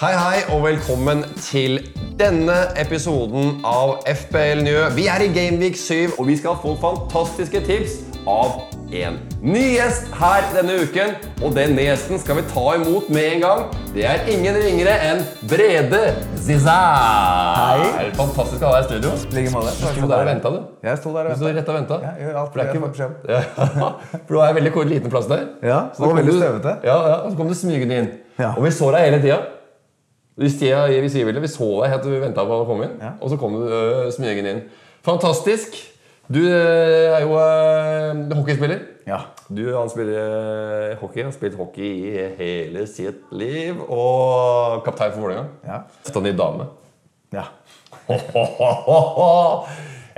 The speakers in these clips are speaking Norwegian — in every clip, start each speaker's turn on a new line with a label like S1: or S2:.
S1: Hei, hei, og velkommen til denne episoden av FPL Njø. Vi er i Gameweek 7, og vi skal få fantastiske tips av en ny gjest her denne uken. Og den gjesten skal vi ta imot med en gang. Det er ingen ringere enn Brede Zizar.
S2: Hei.
S1: Er det fantastisk å ha deg i studio?
S2: like måte.
S1: Du sto der og venta, du.
S2: Jeg sto der og
S1: Du sto
S2: ventet.
S1: rett og venta.
S2: Jeg gjør alt
S1: For det er
S2: jeg
S1: ikke-
S2: får beskjed om.
S1: Ja, For du har en veldig kort, liten plass der.
S2: Ja,
S1: Så da
S2: og
S1: kom
S2: veldig
S1: du-
S2: støvete.
S1: Ja, ja, og så kom du smygende inn.
S2: Ja.
S1: Og vi så deg hele tida. Vi, stia- vi, sier vel det, vi så deg helt til vi venta på å komme inn,
S2: Ja.
S1: og så kom du øh, smygende inn. Fantastisk. Du øh, er jo øh, hockeyspiller.
S2: Ja.
S1: Du, han spiller øh, hockey. Har spilt hockey i hele sitt liv. Og kaptein for Vålerenga.
S2: Ja.
S1: Stanley Dame.
S2: ja.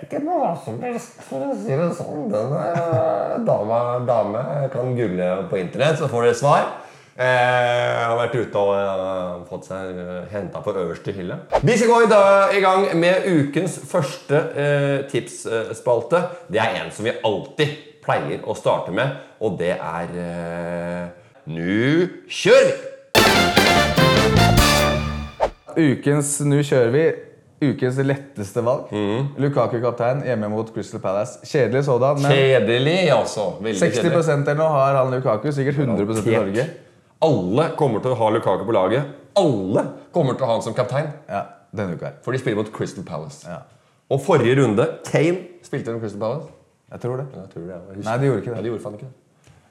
S1: Det er ikke noe som helst, for å si det sånn. Denne dama, dame kan google på internett, så får dere svar. Eh, har vært ute og eh, fått seg henta på øverste hylle. Vi skal gå i, dag, i gang med ukens første eh, tipsspalte. Det er en som vi alltid pleier å starte med, og det er eh, Nu kjører vi!
S2: Ukens Nå kjører vi. Ukens letteste valg. Lukaku kaptein hjemme mot Crystal Palace. Kjedelig sådan, men
S1: Kjedelig, altså. Veldig
S2: 60 eller noe har han Lukaku. Sikkert 100 i Norge.
S1: Alle kommer til å ha Lukaku på laget. Alle kommer til å ha han som kaptein,
S2: Ja, denne uka her.
S1: for de spiller mot Crystal Palace.
S2: Ja.
S1: Og forrige runde Kane spilte mot Crystal Palace.
S2: Jeg tror det.
S1: Jeg tror det, jeg husker.
S2: Nei, de gjorde ikke
S1: Nei,
S2: det.
S1: de gjorde faen ikke det.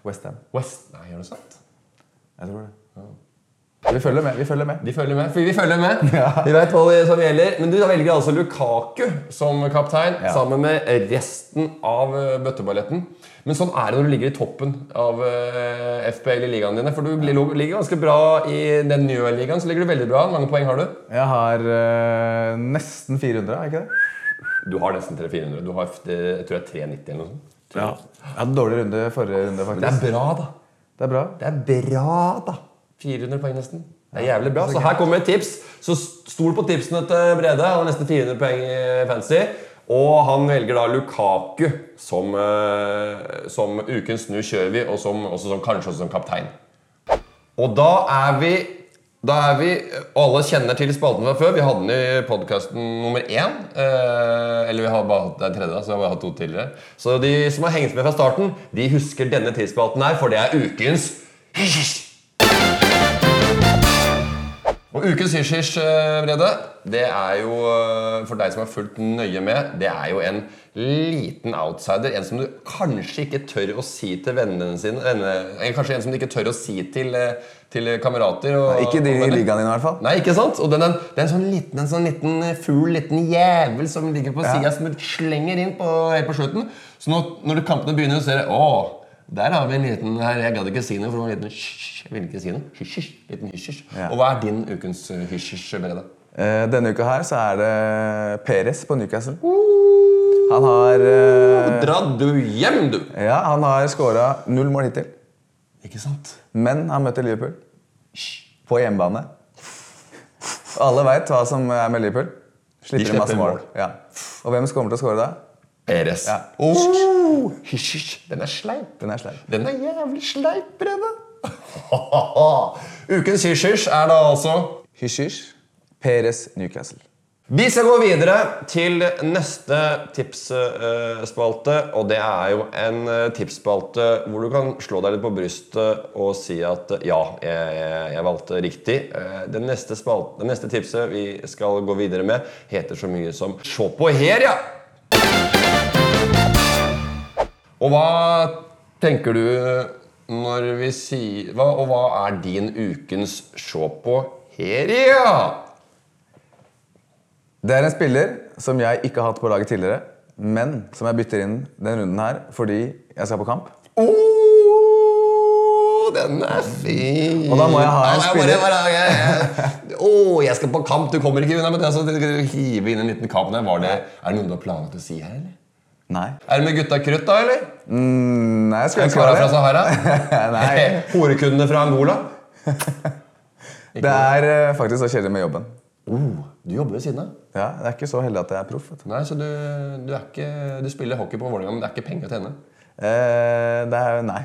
S2: Westham.
S1: West Nei, gjør det sant?
S2: Jeg tror det. Vi følger med. vi følger med.
S1: De følger med. for Vi følger med. Vi vet hva det- som gjelder. Men du da velger altså Lukaku som kaptein
S2: Ja.
S1: sammen med resten av eh, bøtteballetten. Men sånn er det når du ligger i toppen av eh, FPL i ligaene dine. For du ligger ligger ganske bra i den nye ligaen. Så ligger du veldig bra. Hvor mange poeng har du?
S2: Jeg har eh, nesten 400, er ikke det?
S1: Du har nesten 300-400. Du har eh, jeg tror jeg 390 eller noe sånt.
S2: Ja. Jeg hadde en dårlig runde forrige runde,
S1: Men det
S2: faktisk.
S1: er bra, da.
S2: Det er bra.
S1: Det er bra, da. 400 poeng nesten. Det er jævlig bra. Så her kommer et tips. Så stol på tipsene til Brede. Han har nesten 400 poeng i fancy. Og han velger da Lukaku som, eh, som ukens nu kjører vi, og som, også som, kanskje også som kaptein. Og da er vi da er vi, og Alle kjenner til spalten fra før. Vi hadde den i podkasten nummer én. Eh, eller vi har bare hatt den tredje, da, så vi har bare hatt to tidligere. Så de som har hengt med fra starten, de husker denne tidsspalten her, for det er ukens hysj. Og ukens hysj-hysj, eh, Brede, det er jo eh, for deg som har fulgt nøye med, det er jo en liten outsider. En som du kanskje ikke tør å si til vennene sine. Venne, eh, kanskje en som du ikke tør å si til, eh, til kamerater. Og,
S2: Ikke
S1: og
S2: de i
S1: venner.
S2: ligaen din, i hvert fall.
S1: Nei, ikke sant? Og den, den, den sånn liten, en sånn liten fugl, liten jævel som ligger på
S2: Ja.
S1: sida, som du slenger inn på, helt på slutten. Så når, når kampene begynner, så ser jeg Å, der har vi en liten her, Jeg gadd ikke si noe, for det var en liten hysj. Jeg ville ikke si noe. Hysj, hysj. Liten hysj, hysj.
S2: Ja.
S1: Og hva er din ukens eh, hysj, hysj, Brede?
S2: Eh, Denne uka her så er det Peres på Newcastle. Han har eh,
S1: Dra du hjem, du!
S2: Ja, han har skåra null mål hittil.
S1: Ikke sant?
S2: Men han møter Liverpool på hjemmebane. Og alle veit hva som er med Liverpool. Slipper
S1: De
S2: inn masse
S1: slipper
S2: mål.
S1: mål.
S2: Ja. Og hvem som kommer til å skåre da?
S1: Peres.
S2: Ja.
S1: Oh, hysj, hysj. Den er sleip.
S2: Den er sleip.
S1: Den er jævlig sleip, Brede. ukens hysj, hysj er da altså
S2: Hysj-hysj. Peres Newcastle.
S1: Vi skal gå videre til neste tipsspalte, og det er jo en eh, tipsspalte hvor du kan slå deg litt på brystet og si at eh, ja, jeg, jeg, jeg valgte riktig. Eh, Det neste, spal- det neste tipset vi skal gå videre med, heter så mye som Se på her, ja! Og hva tenker du når vi sier hva, Og hva er din ukens Se på her, ja?
S2: Det er en spiller som jeg ikke har hatt på laget tidligere, men som jeg bytter inn den runden her fordi jeg skal på kamp.
S1: Oh, den er fin!
S2: Og da må jeg ha en
S1: Ja,
S2: spiller.
S1: Bare, bare, jeg, jeg, Å, jeg skal på kamp! Du kommer ikke unna med det. Så hive inn en liten kamp der. Var det, er det noe du har planlagt å si her, eller?
S2: Nei. Mm,
S1: Er det med gutta krutt, da, eller?
S2: Nei, jeg skulle ikke
S1: Kara fra
S2: være det.
S1: Sahara?
S2: Nei.
S1: Horekundene fra Angola?
S2: Det er eh, faktisk så kjedelig med jobben.
S1: Oh, du jobber ved siden av.
S2: Ja, Jeg er ikke så heldig at jeg er proff. vet du.
S1: Nei, så du, du, er ikke, du spiller hockey på Vålerenga, men det er ikke penger til henne?
S2: Eh, det er Nei.
S1: Nei, det er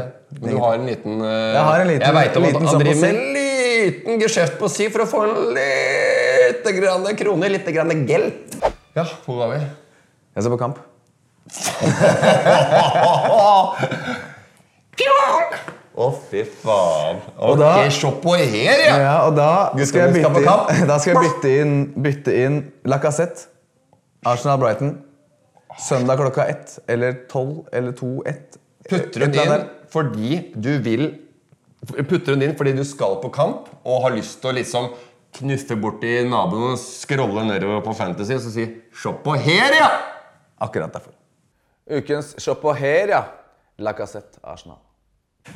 S1: ikke det. Men du har en liten eh,
S2: Jeg har en liten-
S1: Jeg vet om at
S2: liten sånn
S1: han
S2: på
S1: driver med
S2: selv.
S1: en liten geskjeft på si for å få en lite grann kroner, lite grann gelt. Ja, hvor var vi?
S2: Jeg ser på kamp.
S1: Å, fy faen.
S2: Og da-
S1: Ok, se på her, ja.
S2: Ja, og da skal jeg
S1: vi skal
S2: bytte
S1: på
S2: inn,
S1: kamp.
S2: da skal jeg bytte inn, bytte inn Lacassette, Arsenal-Brighton, søndag klokka ett, eller tolv, eller to, ett.
S1: Putter hun
S2: Et eller
S1: inn
S2: annet der.
S1: fordi du vil Putter hun inn fordi du skal på kamp og har lyst til å liksom knuffe borti naboen og scrolle nedover på Fantasy og så si 'Se på her, ja!'
S2: Akkurat derfor. Ukens Shop og Her, ja. Lacassette, Arsenal.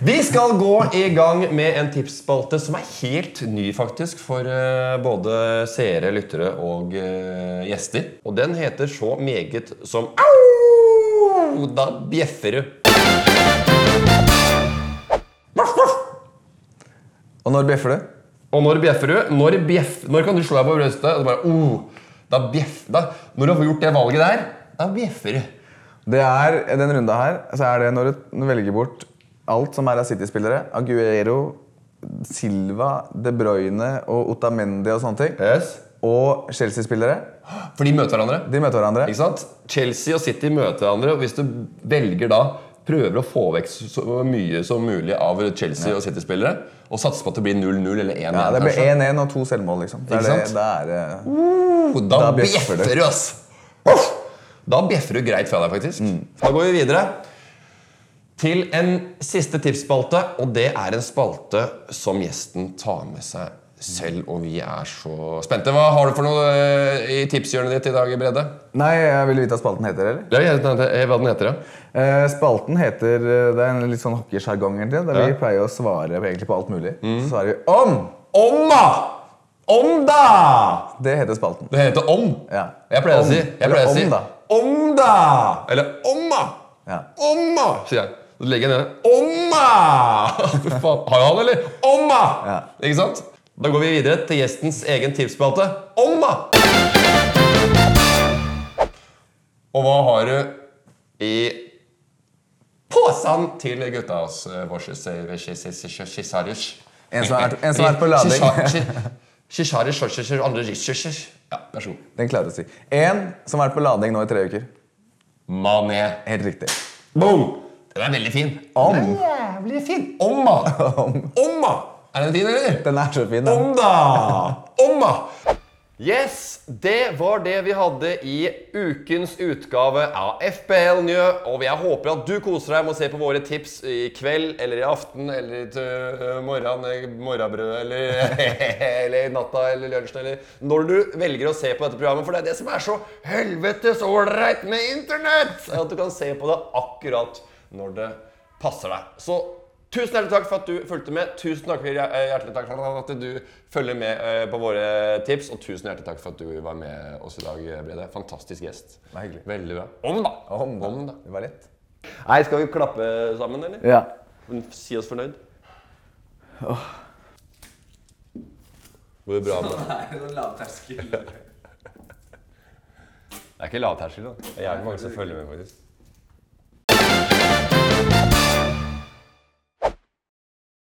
S1: Vi skal gå i gang med en tipsspalte som er helt ny faktisk for eh, både seere, lyttere og eh, gjester. Og den heter så meget som Au! Da bjeffer du.
S2: Og når bjeffer du?
S1: Og når bjeffer du? Når, bjeff, når kan du slå deg på brøstet? Og så bare, oh, da bjeff, da, når du har gjort det valget der, da bjeffer du.
S2: Det er, i denne runda her, så er det når du velger bort alt som er av City-spillere. Aguero, Silva, De Bruyne og Otamendi og sånne ting.
S1: Yes.
S2: Og Chelsea-spillere.
S1: For de møter hverandre.
S2: De møter hverandre.
S1: Ikke sant? Chelsea og City møter hverandre, og hvis du velger da Prøver å få vekk så mye som mulig av Chelsea og City-spillere. Og satser på at det blir 0-0 eller 1-1.
S2: Ja, det blir
S1: kanskje.
S2: 1-1 og to selvmål, liksom. Det er
S1: Ikke
S2: det,
S1: sant?
S2: det er, eh,
S1: Oh, da
S2: Da bjeffer
S1: bjeffer
S2: du.
S1: du, ass! Uff! Da bjeffer du greit fra deg, faktisk. Da går vi videre til en siste tipsspalte, og det er en spalte som gjesten tar med seg selv. Og vi er så spente. Hva har du for noe eh, i tipshjørnet ditt i dag, Brede?
S2: Nei, jeg ville vite hva spalten heter, eller?
S1: Ja, jeg vet ikke Hva den heter, ja?
S2: Eh, Spalten heter eh, Det er en litt sånn hockeysjargong, egentlig. Der vi
S1: Ja. Mm.
S2: pleier å svare på- egentlig på alt mulig. Så svarer vi om!
S1: Om, da! Om, da!
S2: Det heter spalten.
S1: Det heter om.
S2: Ja.
S1: Jeg pleier å
S2: Om.
S1: si jeg
S2: Eller
S1: pleier å
S2: om,
S1: si,
S2: da.
S1: Om, da! Eller om, da!
S2: Ja.
S1: Om, da! sier jeg. Så legger jeg ned Om, da! Fy faen. Har jeg han, eller? Om, da!
S2: Ja.
S1: Ikke sant? Da går vi videre til gjestens egen tipsspalte. Om, da! Og hva har du i posen til gutta hos eh, vårs Kisarius?
S2: En som er, en som er på lading.
S1: Shishari Shoshishir andre Rishishish. Ja, vær så god.
S2: Den klarer du å si. En som har vært på lading nå i tre uker.
S1: Mané.
S2: Helt riktig.
S1: Boom! Den er veldig fin.
S2: Om.
S1: Den er jævlig fin. Omma. Omma. Er den fin, eller?
S2: Den er så fin, den.
S1: Om da! Omma! Yes, det var det vi hadde i ukens utgave av FBL Njø. Og jeg håper at du koser deg med å se på våre tips i kveld eller i aften eller til øh, morgen, øh, morgenbrød eller, eller i natta eller lunsjen eller Når du velger å se på dette programmet, for det er det som er så helvetes ålreit med internett! At du kan se på det akkurat når det passer deg. Så Tusen hjertelig takk for at du fulgte med. Tusen takk, eh, hjertelig takk for at du følger med eh, på våre tips. Og tusen hjertelig takk for at du var med oss i dag, Brede. Fantastisk gjest.
S2: Det var hyggelig.
S1: Veldig bra. Om da!
S2: Om, da.
S1: Om da.
S2: Det var rett.
S1: Nei, skal vi klappe sammen, eller?
S2: Ja.
S1: Si oss fornøyd. Går det bra med deg?
S3: Lavterskel.
S1: Det er ikke lavterskel, da. Det er jævlig mange som følger med, faktisk.